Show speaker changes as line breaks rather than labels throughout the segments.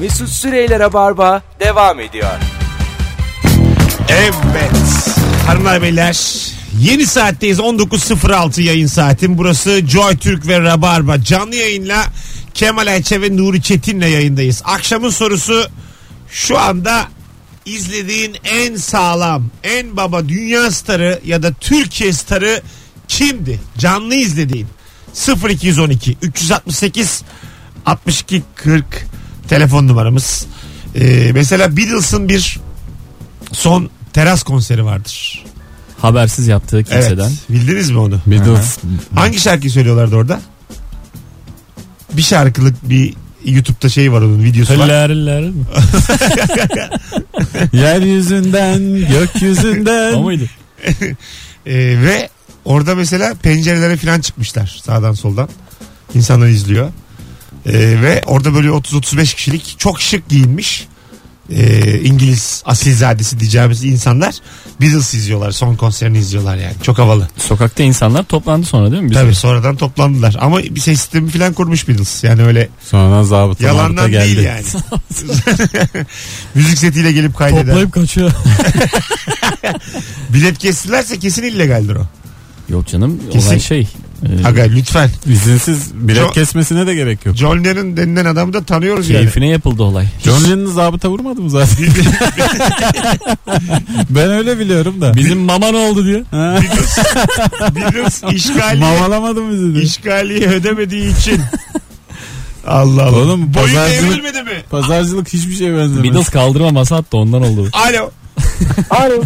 Mesut Süreyler'e barba devam ediyor.
Evet. Hanımlar beyler. Yeni saatteyiz 19.06 yayın saatim. Burası Joy Türk ve Rabarba. Canlı yayınla Kemal Ayçe ve Nuri Çetin'le yayındayız. Akşamın sorusu şu anda izlediğin en sağlam, en baba dünya starı ya da Türkiye starı kimdi? Canlı izlediğin 0212 368 62 40 telefon numaramız. Ee, mesela Beatles'ın bir son teras konseri vardır.
Habersiz yaptığı kimseden.
Evet. Bildiniz mi onu?
Beatles.
Hangi şarkıyı söylüyorlardı orada? Bir şarkılık bir YouTube'da şey var onun videosu var.
Hıller hıller mi? Yeryüzünden, gökyüzünden. o muydu?
Ee, ve orada mesela pencerelere falan çıkmışlar sağdan soldan. İnsanlar izliyor. Ee, ve orada böyle 30-35 kişilik çok şık giyinmiş ee, İngiliz asilzadesi diyeceğimiz insanlar Beatles izliyorlar. Son konserini izliyorlar yani. Çok havalı.
Sokakta insanlar toplandı sonra değil mi? Bir
Tabii
süre?
sonradan toplandılar. Ama bir ses sistemi falan kurmuş Beatles. Yani öyle
Sonradan zabıta mabıta
Yalandan
geldi.
değil yani. Müzik setiyle gelip kaydeder.
Toplayıp kaçıyor.
Bilet kestilerse kesin illegaldir o.
Yok canım
Kesin.
olay şey. e,
Aga lütfen.
İzinsiz bilet
Çok-
kesmesine de gerek yok.
John Lennon denilen adamı da tanıyoruz yani.
keyfine yapıldı olay.
John Lennon'ı zabıta vurmadı mı zaten? ben öyle biliyorum da.
Bizim mama ne oldu diyor.
Beatles, Beatles işgali,
Mamalamadım bizi. de.
işgaliyi ödemediği için. Allah Allah.
Oğlum,
Boyun
pazarcılık-
devrilmedi mi?
Pazarcılık hiçbir şeye benzemez.
Beatles kaldırma masa attı ondan oldu.
Alo.
Alo.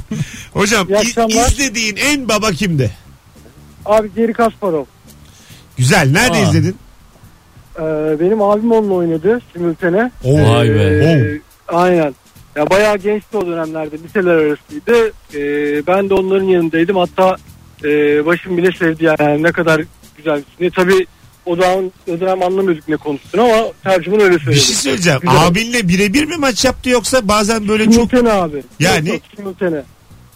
Hocam
İyi
i-
akşamlar.
izlediğin en baba kimdi?
Abi Geri Kasparov.
Güzel. Nerede
Aa.
izledin?
Ee, benim abim onunla oynadı simultane. Ee,
Oo.
Oh, Vay be.
Oo.
Aynen. Ya bayağı gençti o dönemlerde. Liseler arasıydı. Ee, ben de onların yanındaydım. Hatta e, başım bile sevdi yani ne kadar güzel. Ne tabii o zaman o dönem anlamıyorduk ne konuştuğunu ama tercüman öyle söyledi.
Bir şey söyleyeceğim.
Güzel.
Abinle birebir mi maç yaptı yoksa bazen böyle çok
Simultane abi.
Yani?
Yok, yok, simultane.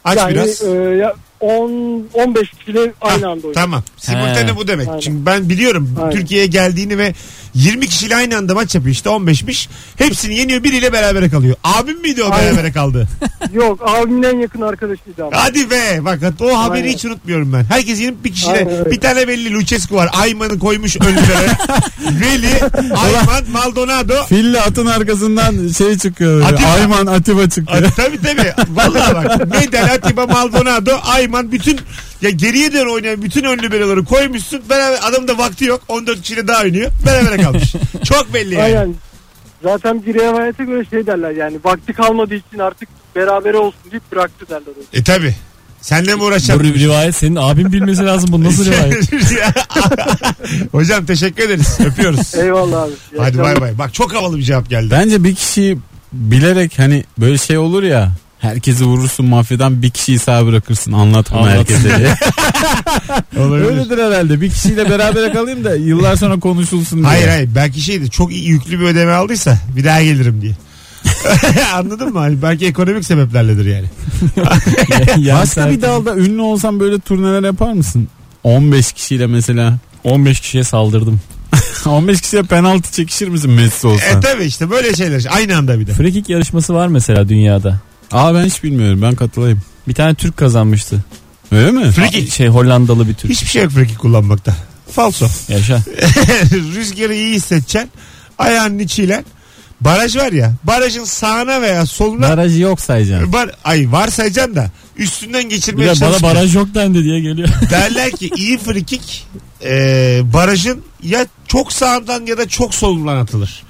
aç
yani,
biraz?
e, ya 10 15 kişiyle aynı anda oynadı.
Tamam. Simultane
He.
bu demek.
Aynen.
Çünkü ben biliyorum
Aynen.
Türkiye'ye geldiğini ve 20 kişiyle aynı anda maç yapıyor işte 15'miş. Hepsini yeniyor biriyle berabere kalıyor. Abim miydi o
Aynen.
berabere kaldı?
Yok abimin en yakın arkadaşıydı ama.
Hadi be. Bak o haberi
Aynen.
hiç unutmuyorum ben. Herkes yenip bir
Aynen
kişiyle
öyle.
bir tane belli Lucescu var. Ayman'ı koymuş önlere. Veli, Ayman, Maldonado.
Fille atın arkasından şey çıkıyor. böyle.
Atiba.
Ayman Atiba çıkıyor.
A- tabii tabii. Vallahi bak. Medel, Atiba, Maldonado, Ayman bütün ya geriye dön oynayan bütün ön liberoları koymuşsun. Beraber adamın da vakti yok. 14 kişiyle daha oynuyor. Berabere kalmış. Çok belli yani.
Aynen. Zaten bir rivayete göre şey derler yani vakti kalmadığı için artık beraber olsun deyip bıraktı derler.
E tabi. Senle mi
Bu
uğraşacağım?
rivayet senin abin bilmesi lazım. Bu
Şey,
nasıl rivayet?
Hocam teşekkür ederiz. Öpüyoruz.
Eyvallah abi. İyi
Hadi
akşamlar.
bay bay. Bak çok havalı bir cevap geldi.
Bence bir kişiyi bilerek hani böyle şey olur ya. Herkesi vurursun mafyadan bir kişiyi sağ bırakırsın anlatma
Anlatma.
herkese diye. Öyledir herhalde bir kişiyle beraber kalayım da yıllar sonra konuşulsun diye.
Hayır hayır belki şeydi çok iyi- yüklü bir ödeme aldıysa bir daha gelirim diye. Anladın mı? Hani belki ekonomik sebeplerledir yani.
Yani
Başka
sen
bir dalda ünlü olsan böyle turneler yapar mısın? 15 kişiyle mesela.
15 kişiye saldırdım.
15 kişiye penaltı çekişir misin Messi
E
olsan?
tabi işte böyle şeyler. Aynı anda bir de.
Frikik yarışması var mesela dünyada.
Aa ben hiç bilmiyorum ben katılayım.
Bir tane Türk kazanmıştı.
Öyle mi?
Free kick.
Şey Hollandalı bir Türk.
Hiçbir şey yok free kick kullanmakta. Falso.
Yaşa.
Rüzgarı iyi hissedeceksin. Ayağının içiyle. Baraj var ya. Barajın sağına veya soluna
Barajı yok sayacaksın.
Bar, ay var sayacaksın da üstünden
Bir
geçirmeye
de bana
çalışacaksın.
baraj yok dendi diye geliyor.
Derler ki iyi frikik e, barajın ya çok sağından ya da çok solundan atılır.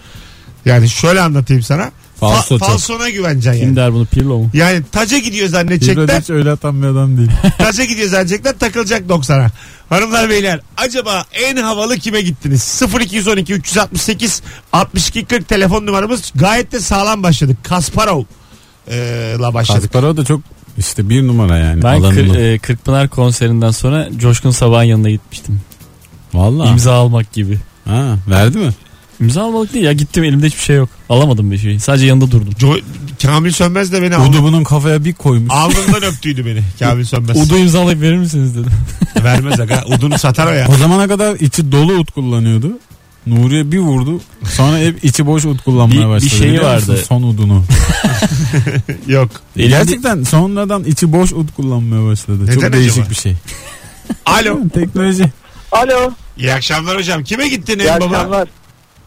Yani şöyle anlatayım sana.
Falso
Fa-
çok.
falsona güveneceksin
Kim
yani.
der bunu Pirlo mu?
Yani taca gidiyor zannedecekler.
Hiç öyle atan bir adam değil.
taca gidiyor zannedecekler takılacak 90'a. Hanımlar beyler acaba en havalı kime gittiniz? 0212 368 62 40 telefon numaramız. Gayet de sağlam başladık. Kasparov e, la başladık.
Kasparov da çok işte bir numara yani.
Ben
alanında.
kır, e, Kırkpınar konserinden sonra Coşkun Sabah'ın yanına gitmiştim.
Valla.
İmza almak gibi.
Ha, verdi mi?
İmza almalık değil ya gittim elimde hiçbir şey yok. Alamadım bir şey. Sadece yanında durdum.
Jo- Kamil Sönmez de beni aldı.
Udu bunun kafaya bir koymuş.
Alnından öptüydü beni Kamil Sönmez.
Udu imzalayıp verir misiniz dedim.
Vermez aga. Udunu satar o ya.
O zamana kadar içi dolu ut kullanıyordu. Nuri'ye bir vurdu. Sonra hep içi boş ut kullanmaya
Bir- bir
başladı.
şeyi
biliyor musun?
vardı.
Son udunu.
Yok.
Elinde-
Gerçekten sonradan içi boş ut kullanmaya başladı.
Neden
Çok değişik
acaba?
bir şey.
Alo.
Teknoloji.
Alo.
İyi akşamlar hocam. Kime gittin
İyi
en baba?
akşamlar.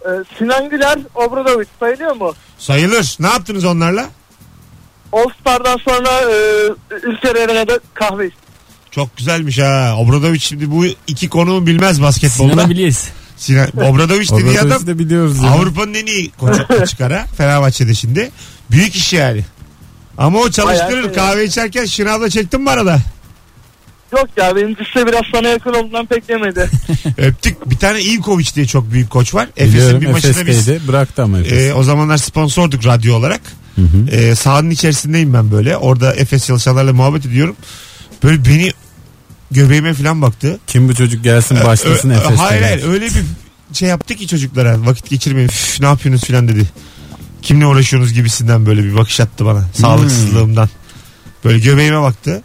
Ee, Sinan Güler, Obradoviç sayılıyor mu?
Sayılır. Ne yaptınız onlarla?
All Star'dan sonra e, Ülker Eren'e kahve içtim.
Çok güzelmiş ha. Obradoviç şimdi bu iki konuğu bilmez basketbolda.
Sinan'ı biliyoruz.
Sinan, Obradoviç dediği adam
Obradoviç'i de biliyoruz. ya.
Avrupa'nın en iyi koçu çıkar ha. Fenerbahçe'de şimdi. Büyük iş yani. Ama o
Bayağı
çalıştırır.
şey
Kahve içerken şınavla çektin mi arada?
Yok ya benim dişte biraz sana yakın olduğundan pek yemedi.
Öptük. Bir tane Ivkovic diye çok büyük koç var. Efes'in
Biliyorum
bir maçında biz
Efes'teydi. Bıraktı ama Efes.
Ee, o zamanlar sponsorduk radyo olarak. Ee, sahanın içerisindeyim ben böyle. Orada Efes çalışanlarla muhabbet ediyorum. Böyle beni göbeğime falan baktı.
Kim bu çocuk gelsin başlasın
Ö- ö-
Efes'te.
e, Hayır hayır öyle bir şey yaptı ki çocuklara vakit geçirmeyin "Üf, ne yapıyorsunuz falan dedi. Kimle uğraşıyorsunuz gibisinden böyle bir bakış attı bana. Sağlıksızlığımdan. Böyle göbeğime baktı.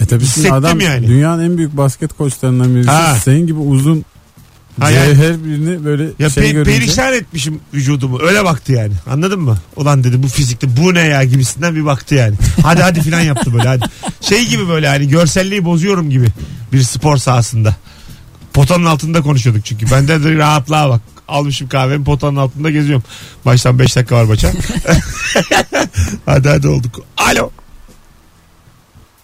E tabii şimdi
Hissettim
adam
yani.
dünyanın en büyük basket koçlarından birisi.
Ha.
Senin gibi uzun
Ha yani-
cevher birini böyle
Ya
şey
pe-
görünce.
perişan etmişim vücudumu. Öyle baktı yani. Anladın mı? Ulan dedi bu fizikte bu ne ya gibisinden bir baktı yani. Hadi hadi filan yaptı böyle hadi. Şey gibi böyle hani görselliği bozuyorum gibi bir spor sahasında. Potanın altında konuşuyorduk çünkü. Bende de rahatlığa bak. Almışım kahvemi potanın altında geziyorum. Baştan 5 dakika var maça. hadi hadi olduk. Alo.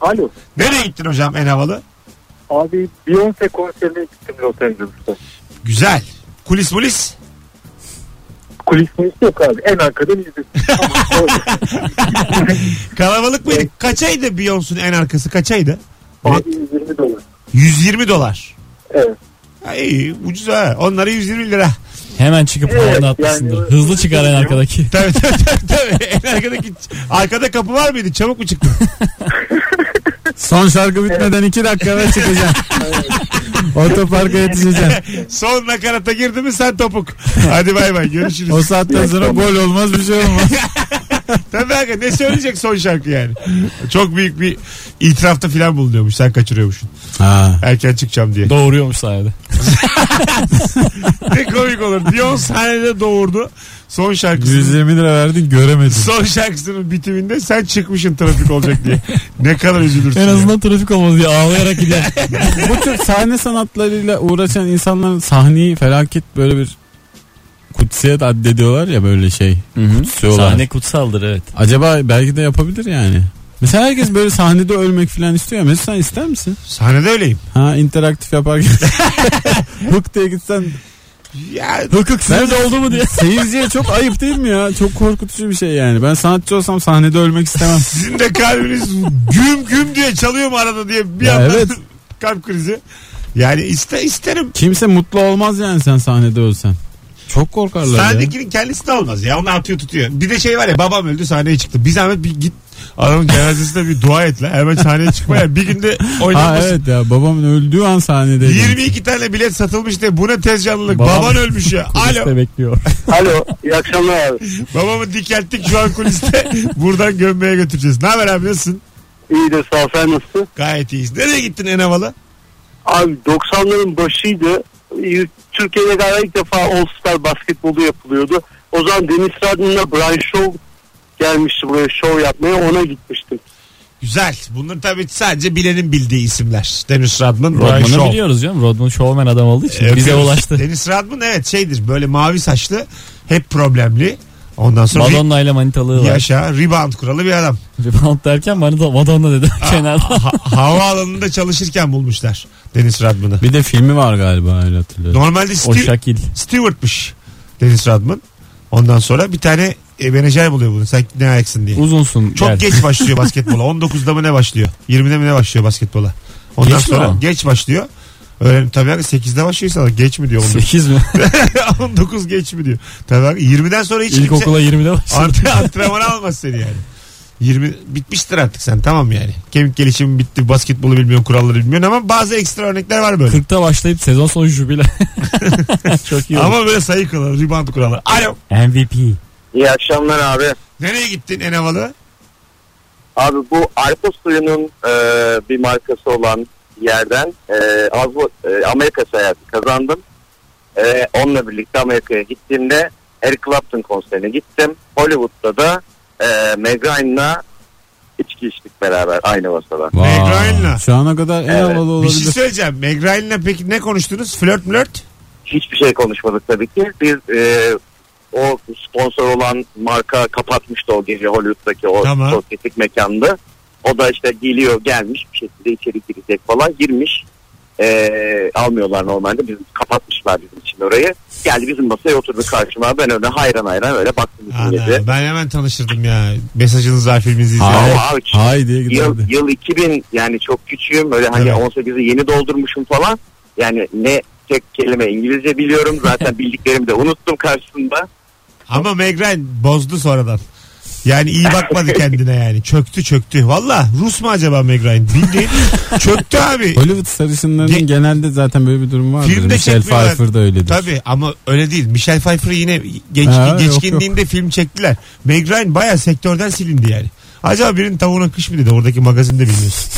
Alo.
Nereye gittin hocam en havalı?
Abi Beyoncé konserine gittim Los Angeles'ta.
Güzel. Kulis mulis.
Kulis mi yok abi. En arkadan izledim.
Kalabalık mıydı? Kaçaydı Beyoncé'nin en arkası kaçaydı?
Abi 120 dolar.
120 dolar.
Evet.
Ha, İyi ucuz ha. Onlara 120 lira.
Hemen çıkıp
Evet,
evet, atlasındır.
yani-
Hızlı çıkar en arkadaki.
Tabii tabii tabii. tabii. En arkadaki, arkada kapı var mıydı? Çabuk mu çıktın?
Son şarkı bitmeden iki dakikada çıkacağım. Otoparka yetişeceğim.
Son nakarata girdi mi sen topuk. Hadi bay bay görüşürüz.
O saatten sonra gol olmaz bir şey olmaz.
tabii aga ne söyleyecek son şarkı yani. Çok büyük bir itirafta filan bulunuyormuş. Sen kaçırıyormuşsun.
ha.
Erken çıkacağım diye.
Doğuruyormuş sayede.
ne komik olur. Dion sahnede doğurdu. Son şarkısını.
120 lira verdin göremedin.
Son şarkısının bitiminde sen çıkmışın trafik olacak diye. Ne kadar üzülürsün.
En
ya.
azından trafik olmaz diye ağlayarak gider.
Bu tür sahne sanatlarıyla uğraşan insanların sahneyi felaket böyle bir kutsiyet addediyorlar ya böyle şey. Kutsuyorlar.
Sahne kutsaldır evet.
Acaba belki de yapabilir yani. Mesela herkes böyle sahnede ölmek falan istiyor. ya. Mesut sen ister misin?
Sahnede öyleyim.
Ha interaktif yaparken. Hık diye gitsen.
Ya
Hık sınırda oldu mu diye. Seyirciye çok ayıp değil mi ya? Çok korkutucu bir şey yani. Ben sanatçı olsam sahnede ölmek istemem.
Sizin de kalbiniz güm güm diye çalıyor mu arada diye bir
Ya
yandan
evet.
kalp krizi. Yani iste, isterim.
Kimse mutlu olmaz yani sen sahnede ölsen. Çok korkarlar ya.
Sahnedekinin kendisi de olmaz ya. Onu atıyor tutuyor. Bir de şey var ya babam öldü sahneye çıktı. Bir zahmet bir git adamın cenazesine bir dua et lan. Hemen sahneye çıkma ya. Bir günde
Ha
oynanmasın.
evet ya babamın öldüğü an sahnede.
22 tane bilet satılmış de bu ne tez canlılık.
Babam-
Baban ölmüş ya. Alo.
Kuliste bekliyor.
Alo. İyi akşamlar abi.
Babamı dikelttik şu an kuliste. Buradan gömmeye götüreceğiz. Ne haber abi nasılsın?
İyi de sağ ol. Sen nasılsın?
Gayet iyiyiz. Nereye gittin en havalı?
Abi 90'ların başıydı. Türkiye'de galiba ilk defa All Star basketbolu yapılıyordu. O zaman Deniz Radyo'na Brian Shaw gelmişti buraya show yapmaya. Ona gitmiştim.
Güzel. Bunlar tabii sadece bilenin bildiği isimler. Dennis Rodman, Brian
Rodman'ı
Shaw. Ee,
biliyoruz canım. Rodman showman adam olduğu için bize
Öpüyoruz.
ulaştı.
Dennis Rodman evet şeydir böyle mavi saçlı hep problemli. Ondan sonra
Madonna ile manitalığı
ri-
var.
yaşa rebound kuralı bir adam.
Rebound derken Madonna, Madonna dedi kenarda.
Ha- havaalanında çalışırken bulmuşlar Dennis Rodman'ı.
Bir de filmi var galiba öyle hatırlıyorum.
Normalde
o
Steve,
şakil.
Stewart'mış Dennis Rodman. Ondan sonra bir tane e, menajer buluyor bunu. Sen ne ayaksın diye.
Uzunsun.
Çok
gel.
geç başlıyor basketbola. 19'da mı ne başlıyor? 20'de mi ne başlıyor basketbola? Ondan
Geç mi
sonra
o?
geç başlıyor. Öyle, tabii abi 8'de başlıyor insanlar. Geç mi diyor 19?
8 mi?
19 geç mi diyor. Tabii abi 20'den sonra hiç kimse-
İlkokula 20'de başladı.
Artık antrenman almaz seni yani. 20 bitmiştir artık sen tamam yani. Kemik gelişimi bitti, basketbolu bilmiyorsun, kuralları bilmiyorsun ama bazı ekstra örnekler var böyle.
40'ta başlayıp sezon sonu jubile. Çok iyi.
ama böyle sayı kuralı, rebound kuralı. Alo.
MVP.
İyi akşamlar abi.
Nereye gittin en havalı?
Abi bu Alpo suyunun e, bir markası olan yerden e, Avru- e, Amerika seyahati kazandım.
Ee, onunla birlikte Amerika'ya gittiğimde Eric Clapton konserine gittim. Hollywood'da da e, Meg Ryan'la içki içtik beraber aynı masada.
Vay.
Meg Ryan'la.
Şu ana kadar en
Evet.
havalı
Bir
olabilir.
şey söyleyeceğim. Meg Ryan'la peki ne konuştunuz? Flört mlört?
Hiçbir şey konuşmadık tabii ki. Biz e, o sponsor olan marka kapatmıştı o gece Hollywood'daki o
Tamam.
sosyetik mekanda. O da işte geliyor gelmiş bir şekilde içeri girecek falan girmiş. E, almıyorlar normalde bizim kapatmışlar bizim için orayı. Geldi bizim masaya oturdu karşıma ben öyle hayran hayran öyle baktım bütün gece.
Ana, ben hemen tanıştırdım ya. Mesajınız var filminizi izledim.
Hayır.
Ama abi,
Haydi
yıl,
giderdi.
yıl 2000 yani çok küçüğüm öyle hani
Evet.
18'i yeni doldurmuşum falan yani ne tek kelime İngilizce biliyorum zaten bildiklerimi de unuttum karşısında.
Ama Meg Ryan bozdu sonradan. Yani iyi bakmadı kendine yani. Çöktü çöktü. Valla Rus mu acaba Meg Ryan? Bildiğin çöktü abi.
Hollywood sarışınlarının
Ge-
genelde zaten böyle bir durum vardır.
Filmde
Michelle
çekmiyorlar.
Pfeiffer da öyledir.
Tabii ama öyle değil. Michelle Pfeiffer'ı yine genç,
Ha, yok,
geçkinliğinde film çektiler. Meg Ryan baya sektörden silindi yani. Acaba birinin tavuğuna kış mı dedi oradaki magazinde bilmiyorsun.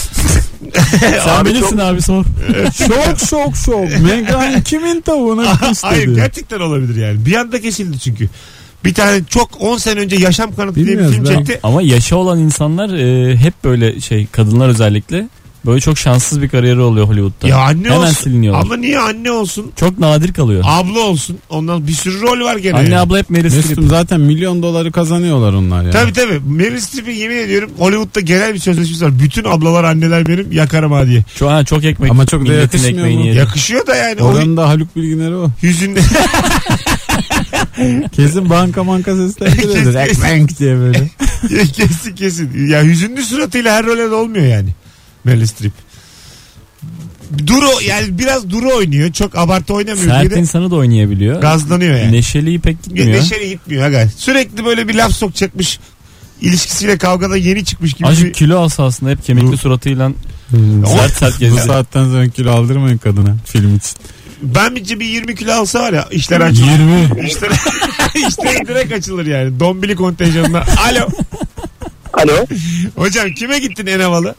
Sen bilirsin abi sor.
şok şok şok. Megan kimin tavuğuna kış
Hayır
dedi.
gerçekten olabilir yani. Bir anda kesildi çünkü. Bir tane çok 10 sene önce Yaşam Kanıtı diye bir
Bilmiyoruz
film
ben.
çekti.
Ama yaşa olan insanlar e, hep böyle şey kadınlar özellikle böyle çok şanssız bir kariyeri oluyor Hollywood'da.
Ya anne
Hemen
olsun.
siliniyorlar.
Ama niye anne olsun?
Çok nadir kalıyor.
Abla olsun. Ondan bir sürü rol var gene.
Anne
yani.
abla hep Meryl Streep.
Mesut'um zaten milyon doları kazanıyorlar onlar ya.
Tabii tabii. Meryl Streep'in yemin ediyorum Hollywood'da genel bir sözleşmesi var. Bütün ablalar anneler benim yakarım ha diye.
Çok, ha, çok ekmek.
Ama çok da
milletin
yakışmıyor
ekmeğini
mu?
yedi.
Yakışıyor da yani.
Oranın da Haluk Bilginer'i o.
O yüzünde
Kesin banka manka seslendiriyordur.
Kesin.
Ekmek diye böyle.
kesin kesin. Ya hüzünlü suratıyla her role de olmuyor yani. Meryl Streep. Duru yani biraz duru oynuyor. Çok abartı oynamıyor.
Sert
Bir de
insanı da oynayabiliyor.
gazlanıyor yani.
Neşeliyi pek gitmiyor.
Neşeli gitmiyor aga. Sürekli böyle bir laf sokacakmış. İlişkisiyle kavgada yeni çıkmış gibi.
Azıcık
bir...
kilo alsa aslında hep kemikli suratıyla sert sert
Bu
geziyor.
saatten sonra kilo aldırmayın kadına film için.
Ben bence bir 20 kilo alsa var ya işler açılır.
20.
İşler, işler direkt açılır yani. Dombili kontenjanına. Alo.
Alo.
Hocam kime gittin en havalı?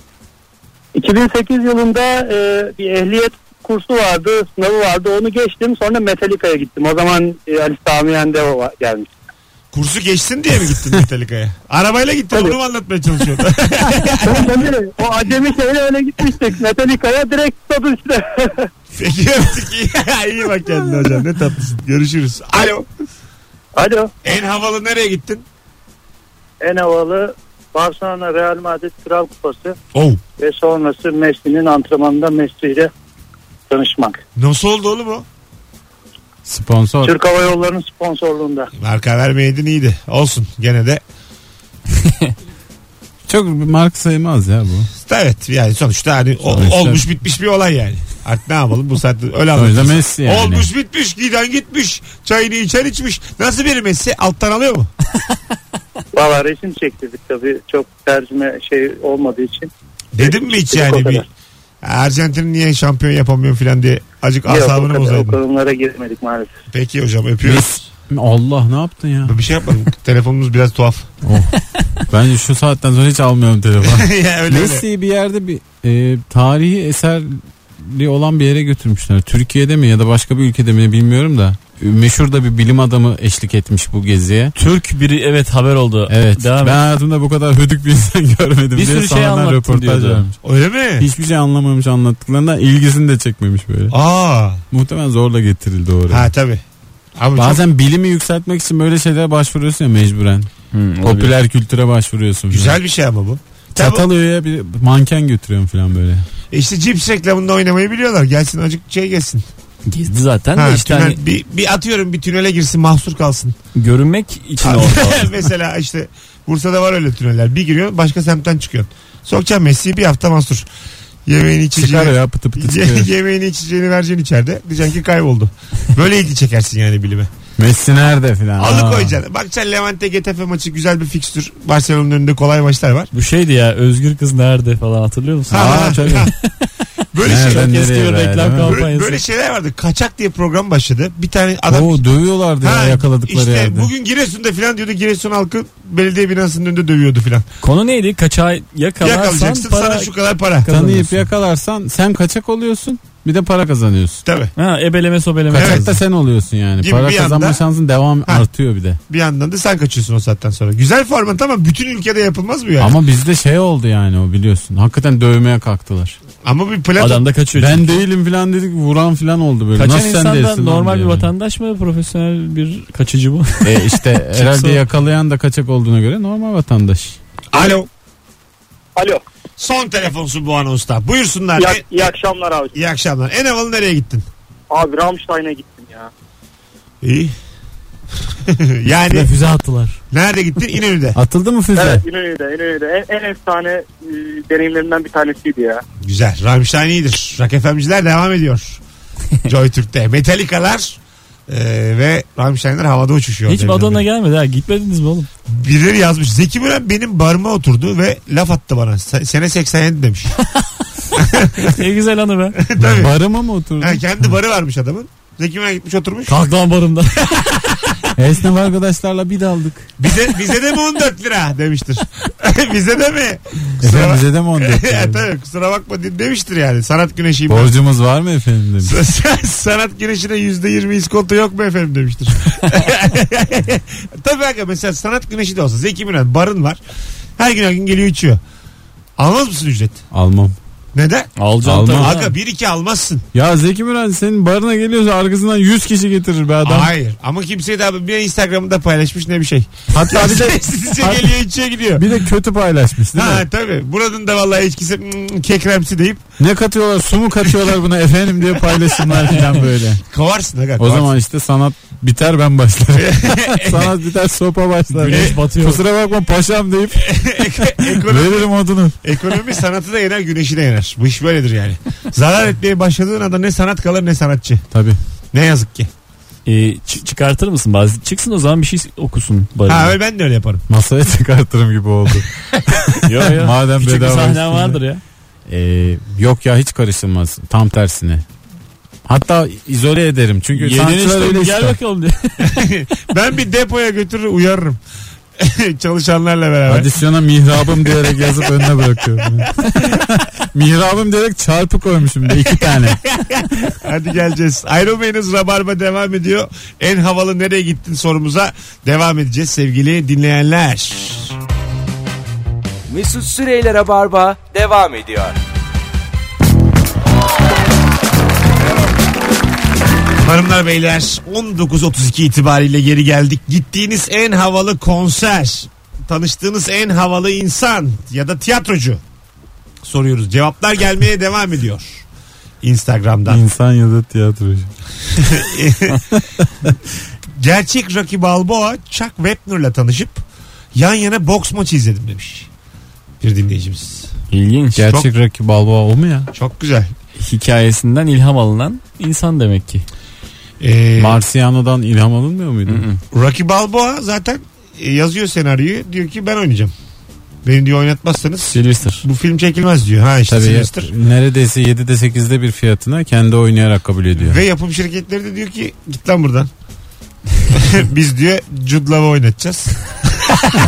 2008 yılında e, bir ehliyet kursu vardı, sınavı vardı. Onu geçtim. Sonra Metallica'ya gittim. O zaman e, Ali Sami Yendevo var- gelmiş.
Kursu geçsin diye mi gittin Metallica'ya? Arabayla gittin
Tabii.
onu mu anlatmaya çalışıyorsun?
Tabii, o acemi şeyle öyle gitmiştik. Metallica'ya direkt stadı işte.
Peki öptük. İyi- İyi bak kendine hocam ne tatlısın. Görüşürüz. Alo.
Alo.
En havalı nereye gittin?
En havalı Barcelona Real Madrid Kral Kupası
Oh.
ve sonrası Messi'nin antrenmanında Messi ile tanışmak.
Nasıl oldu oğlum o?
Sponsor.
Türk Hava Yolları'nın sponsorluğunda.
Marka vermeydin iyiydi. Olsun gene de.
Çok mark sayılmaz ya bu.
Evet yani sonuçta hani o-
Sonuçta-
olmuş bitmiş bir olay yani. Artık ne yapalım bu saatte öyle
Sonuçta
anlatacağız.
Messi yani.
Olmuş bitmiş giden gitmiş. Çayını içer içmiş. Nasıl bir Messi alttan alıyor mu?
Valla resim çektirdik tabii. Çok tercüme şey olmadığı için.
Dedim mi hiç yani bir Arjantin niye şampiyon yapamıyor falan diye acık
Yok, o
asabını
kadar- o
bozaydın.
konulara girmedik maalesef.
Peki hocam öpüyoruz.
Allah ne yaptın ya?
Bir şey yapmadım. Telefonumuz biraz tuhaf.
Bence şu saatten sonra hiç almıyorum telefonu.
ya öyle öyle.
Messi'yi bir yerde bir e, tarihi eserli olan bir yere götürmüşler. Türkiye'de mi ya da başka bir ülkede mi bilmiyorum da. Meşhur da bir bilim adamı eşlik etmiş bu geziye.
Türk biri evet haber oldu.
Evet.
Devam
ben
et.
hayatımda bu kadar hödük bir insan görmedim
Bir
diye
sürü şey
sonradan
anlattın
röportaj
diyordu.
vermiş.
Öyle mi?
Hiçbir şey anlamamış anlattıklarından ilgisini de çekmemiş böyle.
Aa.
Muhtemelen zorla getirildi oraya.
Ha tabii. Ama çok
Bazen bilimi yükseltmek için böyle şeylere başvuruyorsun ya mecburen.
Hmm, olabilir.
Popüler kültüre başvuruyorsun. falan.
güzel bir şey ama bu. Tabii,
Çatalhöyük'e bir manken götürüyorum falan böyle.
E işte cips reklamında oynamayı biliyorlar. Gelsin acık şey gelsin.
Gezdi zaten
Ha,
de işte
tünel-
hani
bir, bir atıyorum bir tünele girsin mahsur kalsın.
görünmek için orada.
Mesela işte Bursa'da var öyle tüneller. Bir giriyorsun başka semtten çıkıyorsun. Sokacağım Messi'yi bir hafta mahsur. Yemeğini
Çıkar
içeceğini,
ya pıtı pıtı
Ye-
çıkıyor.
yemeğini içeceğini vereceksin içeride. Diyeceksin ki kayboldu. Böyle ilgi çekersin yani bilime.
Messi nerede filan.
Alıkoyacaksın. Bakacaksın Levante Getafe maçı güzel bir fikstür. Barcelona'nın önünde kolay maçlar var.
Bu şeydi ya Özgür kız nerede falan hatırlıyor musun?
Aa,
Ha,
Aa, tabii.
Böyle
Nereden
şeyler.
nereye
istiyor
be,
reklam
değil mi?
Böyle,
kampanyası.
böyle şeyler vardı. Kaçak diye program başladı. Bir tane adam
Oo dövüyorlardı ya
Ha,
yakaladıkları
işte
yerde.
bugün Giresun'da filan diyordu. Giresun halkı belediye binasının önünde dövüyordu filan.
Konu neydi? Kaçağı yakalarsan
Yakalayacaksın
para...
sana şu kadar para.
Ka-
Tanıyıp
kazanıyorsun.
yakalarsan sen kaçak oluyorsun bir de para kazanıyorsun.
Tabii.
Ha, ebeleme sobeleme.
Kaçak da sen oluyorsun yani.
Gibi
para
bir
kazanma
anda-
şansın devam artıyor bir de.
Bir yandan da sen kaçıyorsun o saatten sonra. Güzel format ama bütün ülkede yapılmaz bu yani. Ama,
Ama bizde şey oldu yani o biliyorsun. Hakikaten dövmeye kalktılar.
bir plato
Adam da kaçıyor.
Ben değilim filan dedik vuran filan oldu böyle.
Kaçan
Nasıl sen
insan da
değilsin lan
normal bir
diye.
vatandaş mı? Profesyonel bir kaçıcı mı?
E işte herhalde yakalayan da kaçak olduğuna göre normal vatandaş.
Alo.
Alo.
Son telefonsun bu anonsta. Buyursunlar.
İyi,
E-
iyi akşamlar abi.
İyi akşamlar. En havalı nereye gittin?
Abi Rammstein'a gittim ya.
İyi. yani
füze attılar.
nerede gittin? İnönü'de.
Atıldı mı füze?
Evet İnönü'de İnönü'de en, en efsane e, deneyimlerimden bir tanesiydi ya.
Güzel. Rammstein iyidir. Rock FM'ciler devam ediyor. Joy Türk'te. Metallica'lar e, ve Rammstein'ler havada uçuşuyor.
Hiç Madonna gelmedi ha. Gitmediniz mi oğlum?
Birileri yazmış. Zeki Müren benim barıma oturdu ve laf attı bana. Se- Sene 87 demiş.
Ne güzel anı be.
Tabii.
Barıma mı oturdun?
Ha, kendi barı varmış adamın. Zeki Müren gitmiş oturmuş.
Kalk lan barımda.
Esnaf arkadaşlarla bir daldık.
Bize, bize de mi 14 lira demiştir. bize de mi? Kusura
Efendim
bak-
bize de mi on dört
Ya
lira?
tabii kusura bakma de- demiştir yani. Sanat güneşiyim ben.
Borcumuz var mı efendim demiş.
Sanat güneşine yüzde yirmi iskonto yok mu efendim demiştir. Tabii hakikaten mesela sanat güneşi de olsa Zeki Müren barın var. Her gün her gün geliyor içiyor. Almaz mısın ücret?
Almam.
Neden?
Alacağım
Almam.
tabii.
Ha.
Aga bir iki almazsın.
Ya Zeki Müren senin barına geliyorsa arkasından 100 kişi getirir be adam.
Hayır. Ama kimseye daha bir Instagram'da paylaşmış ne bir şey.
Hatta bir de
Sizce
Abi-
geliyor içiyor gidiyor.
bir de kötü paylaşmış değil
Ha
mi?
tabii. Buranın da vallahi içkisi mm, kekremsi deyip
Ne katıyorlar su mu katıyorlar buna efendim diye paylaşımlar falan böyle.
kovarsın aga.
O
kovarsın.
zaman işte sanat biter ben başlarım. sanat biter sopa başlar.
Güneş batıyor.
Kusura bakma paşam deyip
Ekonomi,
veririm odunu.
ekonomi sanatı da yener güneşi de yener. Bu iş böyledir yani. Zarar etmeye başladığın anda ne sanat kalır ne sanatçı.
Tabii.
Ne yazık ki.
Ee, çı- çıkartır mısın bazı? Çıksın o zaman bir şey okusun barına.
Ha öyle ben de öyle yaparım.
Masaya çıkartırım gibi oldu.
Yo, yo.
Madem
Küçük bir
bedava
sahnen
üstünde.
vardır ya.
Ee, yok ya hiç karışılmaz. Tam tersine. Hatta izole ederim. Çünkü
Yedin
sanatçılar
işte
öyle
gel
ister.
bakalım diye.
Ben bir depoya götürür uyarırım. Çalışanlarla beraber.
Adisyona mihrabım diyerek yazıp önüne bırakıyorum. mihrabım diyerek çarpı koymuşum bir iki tane.
Hadi geleceğiz. Ayrılmayınız. Rabarba devam ediyor. En havalı nereye gittin sorumuza devam edeceğiz sevgili dinleyenler.
Mesut Süreyler'e barba devam ediyor.
Hanımlar beyler 19.32 itibariyle geri geldik. Gittiğiniz en havalı konser, tanıştığınız en havalı insan ya da tiyatrocu soruyoruz. Cevaplar gelmeye devam ediyor. Instagram'dan.
İnsan ya da tiyatrocu.
Gerçek Rocky Balboa Chuck Wepner'la tanışıp yan yana boks maçı izledim demiş. Bir dinleyicimiz.
İlginç.
Gerçek rakip Balboa o mu ya?
Çok güzel.
Hikayesinden ilham alınan insan demek ki.
Ee,
Marsiano'dan ilham alınmıyor muydu?
Rocky Balboa zaten e, yazıyor senaryoyu. Diyor ki ben oynayacağım. Beni diyor oynatmazsanız
Sylvester.
bu film çekilmez diyor. Ha işte
Tabii ya,
Sylvester.
neredeyse 7'de 8'de bir fiyatına kendi oynayarak kabul ediyor.
Ve yapım şirketleri de diyor ki git lan buradan. Biz diyor Jude Law'ı oynatacağız.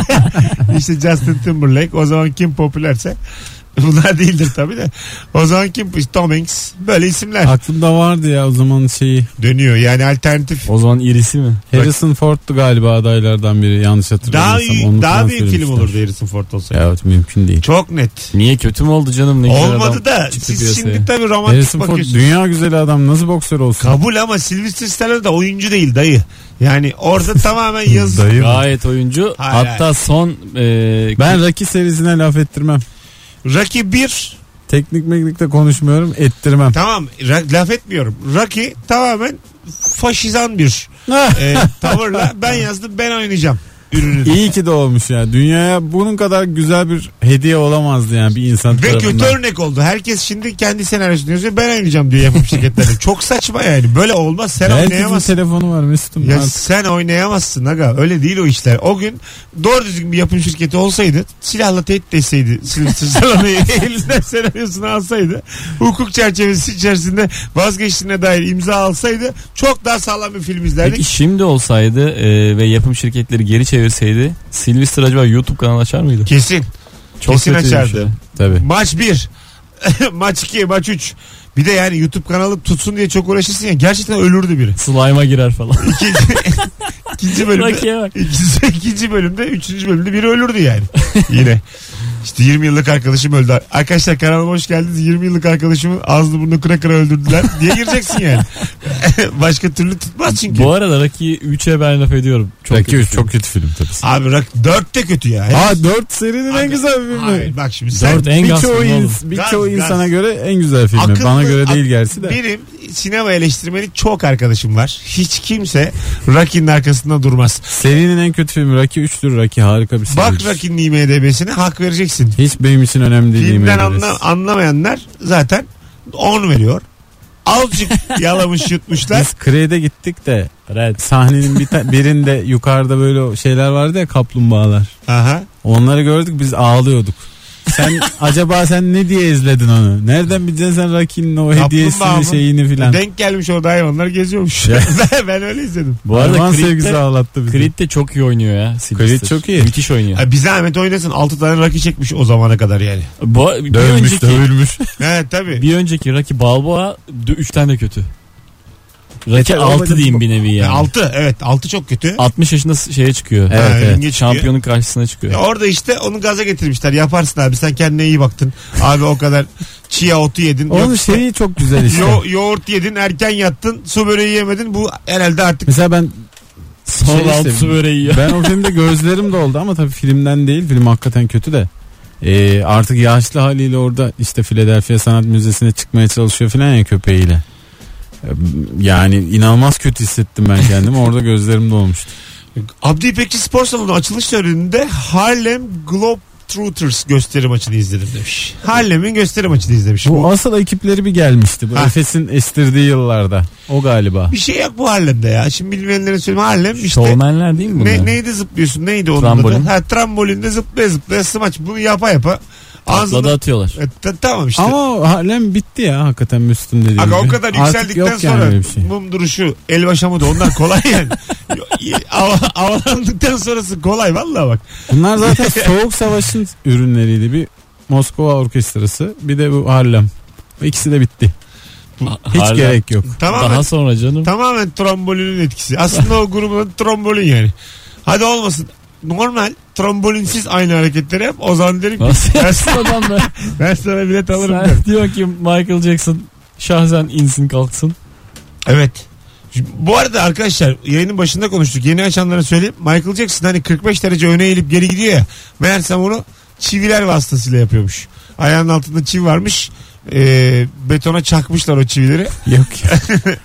işte Justin Timberlake o zaman kim popülerse bunlar değildir tabii de. O zaman kim işte Tom Hanks böyle isimler
Aklımda vardı ya o zaman şeyi.
dönüyor. Yani alternatif
O zaman irisi mi?
Harrison Ford'tu galiba adaylardan biri yanlış hatırlamıyorsam.
daha iyi,
Onu
daha büyük
transfer
film
etmişler.
olurdu Harrison Ford olsa.
Ya evet, mümkün değil.
Çok net.
Niye kötü mü oldu canım? Ne güzel adam
Olmadı da
çıktı
siz
piyasaya.
şimdi tabii romantik
Harrison Ford
bakıyorsunuz.
dünya güzeli adam nasıl boksör olsun?
Kabul ama Sylvester Stallone da oyuncu değil dayı. Yani orada tamamen yazı.
Dayı mı?
Gayet oyuncu.
Hayır,
Hatta son e,
Ben Rocky serisine laf ettirmem.
Rocky 1
Teknik meknikte konuşmuyorum ettirmem.
Tamam ra- laf etmiyorum. Rocky tamamen faşizan bir e, tavırla ben yazdım ben oynayacağım. ürünü.
İyi ki de olmuş ya. Dünyaya bunun kadar güzel bir hediye olamazdı yani bir insan
Ve
tarafından.
kötü örnek oldu. Herkes şimdi kendi senaryosunu yazıyor. Ben oynayacağım diyor yapım şirketleri. Çok saçma yani. Böyle olmaz. Sen
Herkesin
oynayamazsın.
telefonu var Mesut'um.
Ya
Artık
sen oynayamazsın aga. Öyle değil o işler. O gün doğru düzgün bir yapım şirketi olsaydı silahla tehdit etseydi Sylvester Stallone'yi elinden senaryosunu alsaydı hukuk çerçevesi içerisinde vazgeçtiğine dair imza alsaydı çok daha sağlam bir film
Peki
izlerdik.
şimdi olsaydı e, ve yapım şirketleri geri çevirseydi Sylvester acaba YouTube kanalı açar mıydı?
Kesin.
Çok
Kesin
kötüymüş
açardı.
ya.
Tabii.
Maç 1. maç 2, maç 3. Bir de yani YouTube kanalı tutsun diye çok uğraşırsın ya. Gerçekten ölürdü biri.
Slime'a girer falan.
İkinci, ikinci bölümde
Rakiye bak.
İkinci, ikinci bölümde, üçüncü bölümde biri ölürdü yani. Yine. İşte 20 yıllık arkadaşım öldü. Arkadaşlar kanalıma hoş geldiniz. 20 yıllık arkadaşımın ağzını burnunu kıra kıra öldürdüler diye gireceksin yani. Başka türlü tutmaz çünkü.
Bu arada Rocky 3'e ben laf ediyorum. Çok
Çok
kötü.
çok kötü film tabii.
Abi rak 4 de kötü ya.
Aa 4 serinin en
Abi,
güzel filmi.
Hayır, bak şimdi sen
Dört en gaz
Birçoğu
filmi oğlum.
ins- birçoğu
Gaz, gaz.
insana göre en güzel filmi.
Akıllı-
Bana göre değil
ak-
gerçi de.
Benim sinema eleştirmeni çok arkadaşım var. Hiç kimse Rakin'in arkasında durmaz.
Serinin en kötü filmi Rocky 3'tür. Rocky harika bir seri.
Bak Rakin'in IMDB'sine hak vereceksin.
Hiç benim için önemli değil.
Filmden
yemin ederiz.
anla, anlamayanlar zaten 10 veriyor. Azıcık yalamış yutmuşlar.
Biz Kre'de gittik de sahnenin bir ta- birinde yukarıda böyle o şeyler vardı ya kaplumbağalar.
Aha.
Onları gördük biz ağlıyorduk. Sen acaba sen ne diye izledin onu? Nereden bileceksin sen Rakin'in o
Kaplumbağa
hediyesini
mı?
şeyini filan.
Denk gelmiş orada hayvanlar geziyormuş.
Ya.
ben, ben öyle izledim.
Bu arada
Hayvan
sevgisi
sevgisi
ağlattı bizi.
Creed de çok iyi oynuyor ya. Sylvester.
Creed çok iyi.
Müthiş oynuyor.
Ha, bir zahmet oynasın 6 tane rakı çekmiş o zamana kadar yani.
Bu, bir önceki,
dövülmüş.
He tabii.
bir önceki Rocky Balboa 3'ten de kötü. Rocky
Yeter,
6
olmadı
diyeyim
bu.
bir nevi yani.
6 evet 6 çok kötü.
60 yaşında şeye çıkıyor.
Evet,
Ha,
evet.
ringe çıkıyor.
Şampiyonun karşısına çıkıyor.
Ya E Orada işte onu gaza getirmişler. Yaparsın abi sen kendine iyi baktın. Abi o kadar çiğ otu yedin.
Onun
Yok işte
şeyi çok güzel işte.
yo- yoğurt yedin erken yattın su böreği yemedin. Bu herhalde artık
Mesela ben
Son
Şey
altısı
sevdim.
böreği yiyor.
ben o filmde gözlerim doldu ama tabii filmden değil. Film hakikaten kötü de. Ee, artık yaşlı haliyle orada işte Philadelphia Sanat Müzesi'ne çıkmaya çalışıyor filan ya köpeğiyle. Ee, Yani inanılmaz kötü hissettim ben kendimi. Orada gözlerim dolmuştu.
Abdi İpekçi Spor Salonu'nun açılış töreninde Harlem Globetrotters gösteri maçını izledim demiş. Harlem'in gösteri maçını izlemiş.
Bu
Bu,
asıl ekipleri bir gelmişti. Bu
Ha.
Efes'in estirdiği yıllarda. O galiba.
bir şey yok bu Harlem'de ya. Şimdi bilmeyenlere söyleyeyim. Harlem işte
Şovmenler değil mi bunlar?
ne, neydi zıplıyorsun neydi onun
Trambolin.
adı? Ha, trambolinde zıplaya zıplaya smaç bunu yapa yapa.
Atla da
Ağzında...
atıyorlar.
E, ta- tamam işte.
Ama Harlem bitti ya hakikaten Müslüm dediğim
Aga o
gibi.
kadar
Ee, Artık
yükseldikten
yok yani
sonra
öyle bir şey.
mum duruşu, el başamı da onlar kolay yani. Hava- Havalandıktan sonrası kolay vallahi bak.
Bunlar zaten Soğuk Savaş'ın ürünleriydi. Bir Moskova Orkestrası bir de bu Harlem. İkisi de bitti. Hiç
Harlem.
gerek yok.
Tamamen,
Daha sonra canım.
tamamen trombolinin etkisi. Aslında o grubun adı trombolin yani. Hadi olmasın. Normal trombolinsiz aynı hareketleri yap. O zaman derim ki
Nasıl
Ben-
yapsın adam da?
ben sana bilet alırım
Sen
derim.
diyor ki Michael Jackson şahsen insin kalksın.
Evet. Şimdi Bu arada arkadaşlar yayının başında konuştuk. Yeni açanlara söyleyeyim. Michael Jackson hani 45 derece öne eğilip geri gidiyor ya. Meğersem onu çiviler vasıtasıyla yapıyormuş. Ayağının altında çivi varmış. Ee, betona çakmışlar o çivileri.
Yok ya.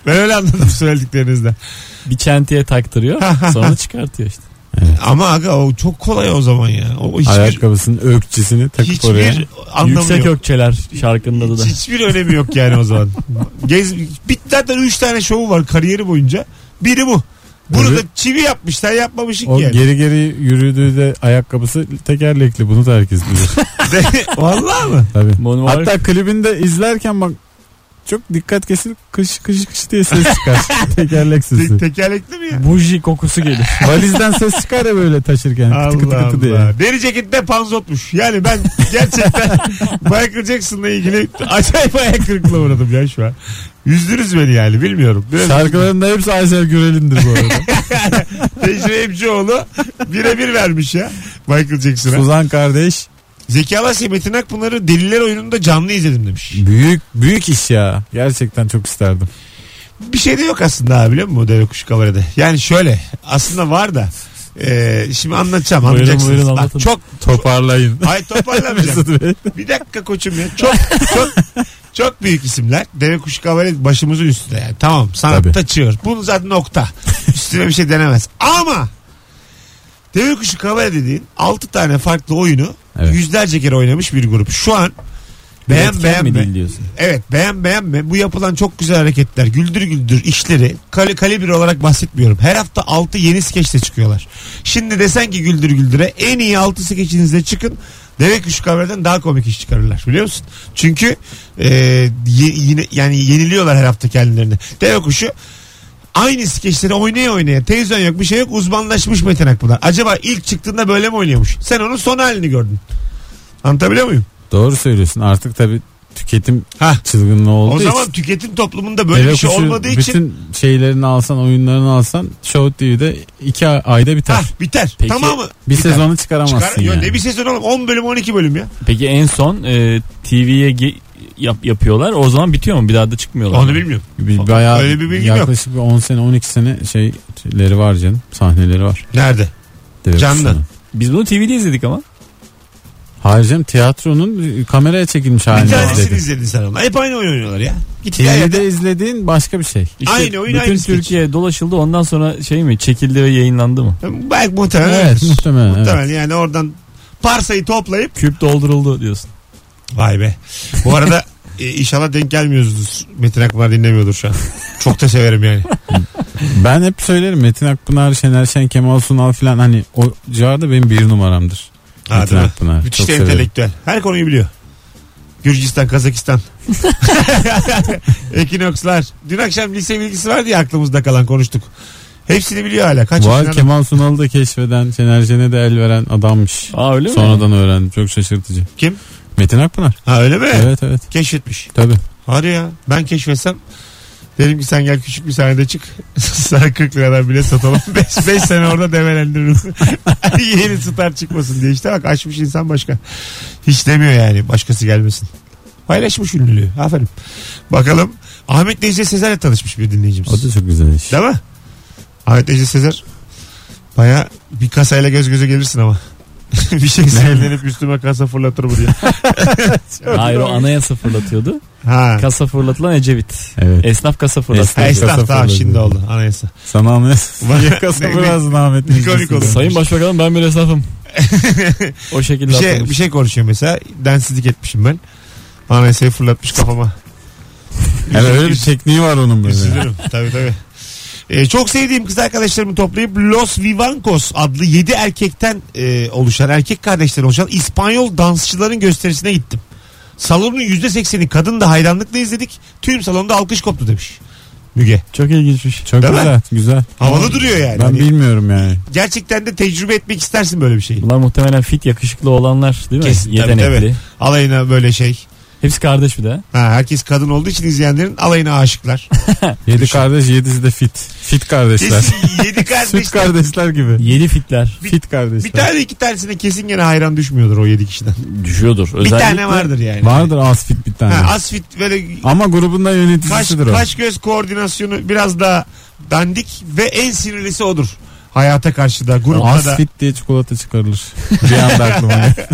Ben öyle anladım söylediklerinizden.
Bir çentiye taktırıyor. sonra çıkartıyor işte.
Ama aga o çok kolay o zaman ya. O hiçbir,
Ayakkabısının ökçesini takıp oraya.
hiçbir anlamı
Yüksek
yok.
Ökçeler şarkının adı da.
Hiç- Hiçbir önemi yok yani o zaman. Gez, bir, zaten 3 tane şovu var kariyeri boyunca. Biri bu. Burada
Evet.
çivi yapmış sen yapmamışsın
O
ki yani.
geri geri yürüdüğü de ayakkabısı tekerlekli. Bunu da herkes bilir.
Vallahi mı?
Tabii.
Monumark-
Hatta klibinde izlerken bak çok dikkat kesilip kış kış kış diye ses çıkar. Tekerlek
Te-
sesi.
tekerlekli mi ya?
Buji kokusu gelir.
Valizden ses çıkar ya böyle taşırken. Kıtı kıtı
Allah
kıtı diye.
Allah. Deri cekette panzotmuş. Yani ben gerçekten Michael Jackson'la ilgili acayip ayak kırıklığına uğradım ya şu an. Üzdünüz beni yani bilmiyorum. Biraz
Şarkıların da hepsi Aysel Gürelin'dir bu arada.
Tecrübe Emcioğlu birebir vermiş ya Michael Jackson'a.
Suzan kardeş
Zeki Alasya Metin Akpınar'ı Deliler Oyunu'nda canlı izledim demiş.
büyük büyük iş ya. Gerçekten çok isterdim.
Bir şey de yok aslında abi biliyor musun bu deve kuşu kabarede? Yani şöyle aslında var da e, şimdi anlatacağım
Buyurun,
anlayacaksınız.
buyurun,
Bak,
anlatın.
çok
Toparlayın.
ay toparlamayacağım.
Mesut Bey.
bir dakika koçum ya çok çok çok büyük isimler. Deve kuşu kabarede başımızın üstünde yani tamam sanatta
Tabii.
çığır. Bunu zaten nokta. Üstüne bir şey denemez ama Demir Kuşu Kamera dediğin 6 tane farklı oyunu
Evet.
yüzlerce kere oynamış bir grup. Şu an beğen
Üretken mi
beğenme.
değil diyorsun?
Evet beğen beğenme. Bu yapılan çok güzel hareketler. Güldür güldür işleri. Kale, kalibre olarak bahsetmiyorum. Her hafta 6 yeni skeçle çıkıyorlar. Şimdi desen ki güldür güldüre en iyi 6 skeçinizle çıkın. Deve kuşu kameradan daha komik iş çıkarırlar biliyor musun? Çünkü e, ye- yine yani yeniliyorlar her hafta kendilerini. Deve kuşu aynı skeçleri oynaya oynaya televizyon yok bir şey yok uzmanlaşmış Metin Akpınar. Acaba ilk çıktığında böyle mi oynuyormuş? Sen onun son halini gördün. Anlatabiliyor muyum?
Doğru söylüyorsun. Artık tabii tüketim
Hah.
çılgınlığı oldu.
O zaman tüketim toplumunda böyle bir şey olmadığı
bütün
için
şeylerini alsan, oyunlarını alsan Show TV'de iki ayda biter.
Hah, biter.
Peki,
Tamamı
bir
biter.
sezonu çıkaramazsın
Çıkar- Yo,
yani.
Ne bir sezon oğlum 10 bölüm 12 bölüm ya.
Peki en son e, TV'ye ge- yap- yapıyorlar. O zaman bitiyor mu? Bir daha da çıkmıyorlar.
Onu
mı?
bilmiyorum.
Bir, bayağı
Öyle bir bilgim yok.
yaklaşık bir 10 sene 12 sene şeyleri var canım. Sahneleri var.
Nerede?
Direkt
Canlı.
üstüne.
Biz bunu TV'de izledik ama.
Hayır canım tiyatronun kameraya çekilmiş
Bir
halini
tanesini
izledim.
izledin sen onu. Hep aynı oyun oynuyorlar ya. Git ya. ya.
TV'de izlediğin başka bir şey.
Aynı oyun,
bütün
aynı skeç.
Türkiye dolaşıldı ondan sonra şey mi çekildi ve yayınlandı mı?
Belki muhtemelen.
Evet,
öyledir.
muhtemelen. evet.
Muhtemelen yani oradan parsayı toplayıp
Küp dolduruldu diyorsun.
vay be. Bu arada e, inşallah denk gelmiyoruzdur. Metin Akpınar dinlemiyordur şu an. Çok da severim yani.
Ben hep söylerim Metin Akpınar, Şener Şen, Kemal Sunal filan hani o civarda benim bir numaramdır.
Ha,
Metin
değil mi?
Akpınar.
Müthiş
Çok
de
severim.
entelektüel. Her konuyu biliyor. Gürcistan, Kazakistan. Ekinokslar. Dün akşam lise bilgisi vardı ya aklımızda kalan konuştuk. Hepsini biliyor hala. Kaç
Var
yaşında? adam?
Kemal Sunal'ı da keşfeden, Şener Şen'e de el veren adammış.
Aa öyle mi?
Sonradan öğrendim. Çok şaşırtıcı.
Kim?
Metin Akpınar.
Ha öyle mi?
Evet evet.
Keşfetmiş.
Tabii.
Hadi ya. Ben keşfetsem derim ki sen gel küçük bir sahnede çık. Sana 40 liradan bile satalım. 5 5 sene orada develendiririz. Yeni star çıkmasın diye. işte bak açmış insan başka. Hiç demiyor yani başkası gelmesin. Paylaşmış ünlülüğü. Aferin. Bakalım. Ahmet Necdet Sezer'le tanışmış bir dinleyicimiz.
O da çok güzel iş.
Değil mi? Ahmet Necdet Sezer. Baya bir kasayla göz göze gelirsin ama. bir şey sinirlenip üstüme kasa fırlatır bu diye.
Hayır o anayasa fırlatıyordu.
Ha.
Kasa fırlatılan Ecevit.
Evet.
Esnaf kasa
Ha,
fırlatıyor.
Esnaf.
esnaf
Kasa
tamam
fırladı.
şimdi oldu anayasa.
Sana anlayasın.
Bak-
Yakası
Ne- ne-
birazdan Ahmet Necdet
komik
Sezer.
olur.
Sayın Başbakanım ben bir esnafım. o şekilde
Bir şey,
atlamış.
bir şey konuşuyor mesela. Densizlik etmişim ben. Anayasayı fırlatmış kafama.
Yani öyle bir tekniği var onun böyle.
Üzülürüm. tabii tabii. Ee, çok sevdiğim kız arkadaşlarımı toplayıp Los Vivancos adlı 7 erkekten e, oluşan, erkek kardeşlerden oluşan İspanyol dansçıların gösterisine gittim. Salonun %80'i kadın da hayranlıkla izledik. Tüm salonda alkış koptu demiş. Müge.
Çok ilginçmiş. Çok
Değil mi?
güzel. Güzel.
Havalı duruyor yani.
Ben
Hani
bilmiyorum yani.
gerçekten de tecrübe etmek istersin böyle bir şeyi.
Bunlar muhtemelen fit yakışıklı olanlar değil mi?
Kesin, tabii,
Yetenekli.
tabii. Alayına böyle şey.
Hepsi kardeş bir de.
Ha, herkes kadın olduğu için izleyenlerin alayına aşıklar.
Yedi kardeş yedisi de fit. Fit kardeşler.
Kesin 7
Süt
kardeşler.
kardeşler gibi.
Yeni fitler.
Bir-
Fit kardeşler.
Bir tane iki tanesine kesin gene hayran düşmüyordur o 7 kişiden.
Düşüyordur.
bir tane vardır yani.
Vardır az fit bir tane.
Ha, az fit böyle
Ama grubunda
kaş,
yöneticisidir o.
kaş göz koordinasyonu biraz daha dandik ve en sinirlisi odur. Hayata karşı da grupta da.
Az fit diye çikolata çıkarılır. bir anda aklıma geldi.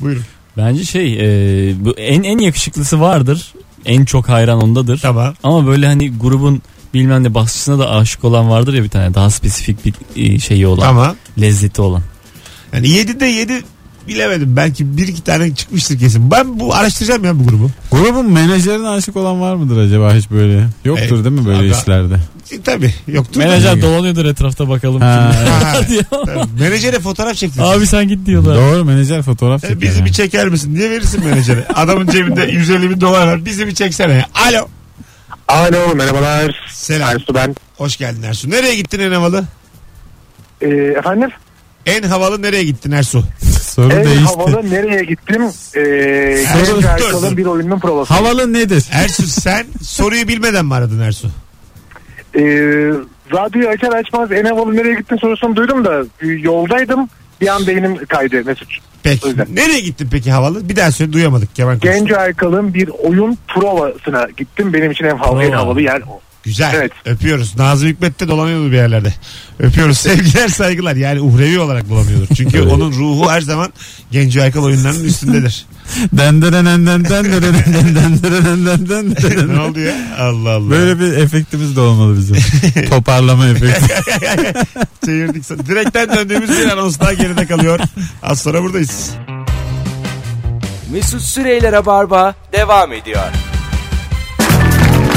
Buyurun.
Bence şey e, bu en en yakışıklısı vardır. En çok hayran ondadır.
Tamam.
Ama böyle hani grubun bilmem ne basçısına da aşık olan vardır ya bir tane daha spesifik bir e, şeyi olan.
Tamam.
Lezzeti olan.
Yani 7'de 7 bilemedim. Belki bir iki tane çıkmıştır kesin. Ben bu araştıracağım ya bu grubu.
Grubun menajerine aşık olan var mıdır acaba hiç böyle? Yoktur
Evet.
değil mi böyle
E, Aga.
işlerde?
E, tabii yoktur. da.
Menajer dolanıyordur etrafta bakalım.
Ha,
kim-
evet.
diyor.
Tabii. Menajere fotoğraf çektirsin.
Abi sen git diyorlar.
Doğru menajer fotoğraf
E,
çeker.
bizi
yani.
bir çeker misin diye verirsin menajere. Adamın cebinde 150 bin dolar var. Bizi bir çeksene. Alo.
Alo merhabalar.
Selam.
Ersu ben.
Hoş geldin Ersu. Nereye gittin en havalı?
Ee, efendim?
En havalı nereye gittin Ersu?
Soru
en
değişti. Havalı...
havalı nereye gittim? Ee,
Ersun,
Genç Erkal'ın
dur.
bir oyunun provası.
nedir?
Ersu sen soruyu bilmeden mi aradın Ersu?
Ee, radyoyu açar açmaz en havalı nereye gittin sorusunu duydum da e, yoldaydım. Bir an beynim kaydı Mesut.
Peki.
Öyle.
Nereye gittin peki havalı? Bir daha söyle duyamadık. Keman
Genç Erkal'ın bir oyun provasına gittim. Benim için en havalı, en
Prova.
havalı yer o.
Güzel.
Evet.
Öpüyoruz. Nazım Hikmet de dolanıyordur bir yerlerde. Öpüyoruz. Sevgiler saygılar. Yani uhrevi olarak dolanıyordur. Çünkü
Öyle.
onun ruhu her zaman Genco Aykal oyunlarının üstündedir. ne oldu ya? Allah Allah.
Böyle bir efektimiz de olmalı bizim. Toparlama efekti.
Çevirdik. Direkten döndüğümüz bir anons daha geride kalıyor. Az sonra buradayız.
Mesut Süreyler'e barba devam ediyor.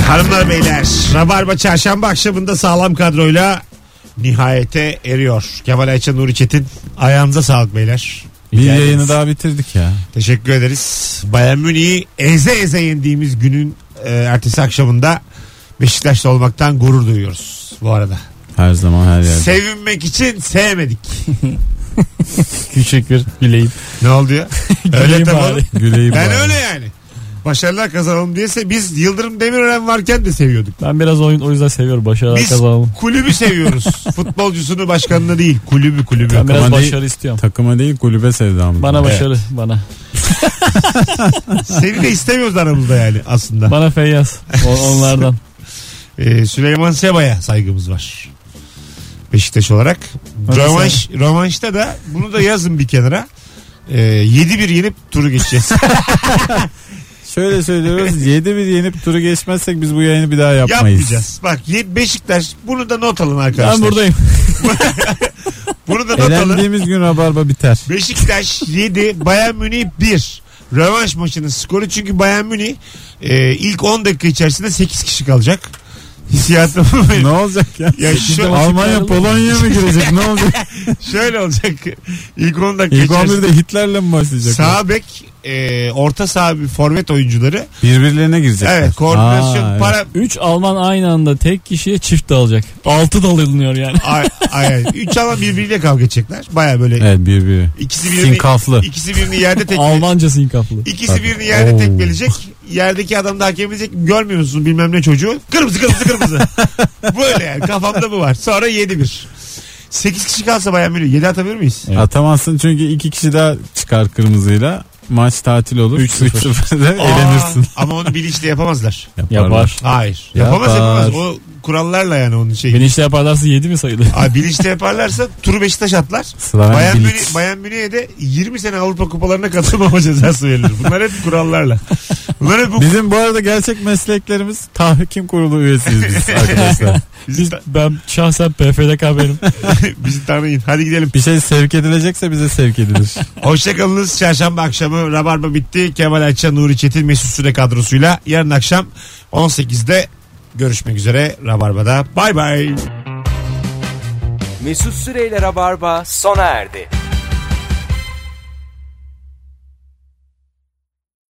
Hanımlar beyler Rabarba çarşamba akşamında sağlam kadroyla nihayete eriyor. Kemal Ayça Nuri Çetin ayağınıza sağlık beyler.
Bir yayını daha bitirdik ya.
Teşekkür ederiz. Bayern Münih'i eze eze yendiğimiz günün e, ertesi akşamında Beşiktaş'ta olmaktan gurur duyuyoruz bu arada.
Her zaman her yerde.
Sevinmek için sevmedik.
Küçük bir bileyim.
Ne oldu ya? öyle
Güleyim
tabii.
bari.
oğlum.
Güleyim
Ben
bari.
öyle yani. Başarılar kazanalım diyese biz Yıldırım Demirören varken de seviyorduk.
Ben biraz oyun o yüzden seviyorum. Başarılar
Biz
kazanalım.
kulübü seviyoruz. Futbolcusunu başkanını değil. Kulübü kulübü.
Ben biraz
Ama değil-
başarı istiyorum.
Takıma değil kulübe sevdamız.
Bana
Evet.
başarı. Bana.
Seni de istemiyoruz aramızda yani aslında.
Bana Feyyaz. O- onlardan.
Ee, Süleyman Seba'ya saygımız var. Beşiktaş olarak.
Hadi
Rövanş, rövanşta da bunu da yazın bir kenara. Ee, 7-1 yenip turu geçeceğiz.
Şöyle söylüyoruz 7 bir yenip turu geçmezsek biz bu yayını bir daha yapmayız.
Yapmayacağız. Bak ye- Beşiktaş bunu da not alın arkadaşlar.
Ben buradayım.
Bunu da not alın.
Elendiğimiz gün rabarba biter.
Beşiktaş 7, Bayern Münih 1. Rövanş maçının skoru çünkü Bayern Münih e, ilk 10 dakika içerisinde 8 kişi kalacak. Hissiyatım
ne olacak ya?
Ya şu-
Almanya Polonya'ya mı girecek? Ne olacak?
şöyle olacak. İlk 10 dakika
İlk
içerisinde
11'de Hitler'le mi başlayacak?
sağ bek, e, orta saha bir forvet oyuncuları.
Birbirlerine girecekler.
Evet, koordinasyon,
Aa, evet.
para
3 Alman aynı anda tek kişiye çift dağılacak. 6 dalınıyor yani.
ay, ay, ay. Üç ama birbiriyle kavga edecekler. Baya böyle
Evet birbiri.
ikisi birini
Sinkaflı.
ikisi birini yerde tekmeleyecek.
Almanca sinkaflı.
İkisi birini yerde
Oo.
tekmeleyecek. Yerdeki adam da hakem edecek. Görmüyor musun bilmem ne çocuğu? Kırmızı kırmızı kırmızı. Böyle yani kafamda bu var. Sonra 7-1. 8 kişi kalsa bayağı böyle 7 atabilir miyiz?
Atamazsın çünkü iki kişi daha çıkar kırmızıyla. Maç tatil olur. 3-0'da
Aa,
elenirsin.
Ama onu bilinçli yapamazlar.
Yapar.
Hayır. Yapamaz
Yapar.
yapamaz. O kurallarla yani onun şeyi.
Beni işte yaparlarsa 7 mi sayılır?
Abi bilinçli yaparlarsa turu Beşiktaş atlar.
Slaven
Bayan,
Bilic.
Münih, Bayan Münih'e de 20 sene Avrupa kupalarına katılmama cezası verilir. Bunlar hep kurallarla. Bunlar hep bu
Bizim bu arada gerçek mesleklerimiz tahkim kurulu üyesiyiz biz arkadaşlar.
bizi,
Biz,
ta-
ben şahsen PFDK benim.
bizi tanıyın. Hadi gidelim.
Bir şey sevk edilecekse bize sevk edilir.
Hoşçakalınız. Çarşamba akşamı Rabarba bitti. Kemal Ayça, Nuri Çetin, Mesut Süre kadrosuyla yarın akşam 18'de görüşmek üzere Rabarba'da. Bay bay.
Mesut Süreyler'e barba sona erdi.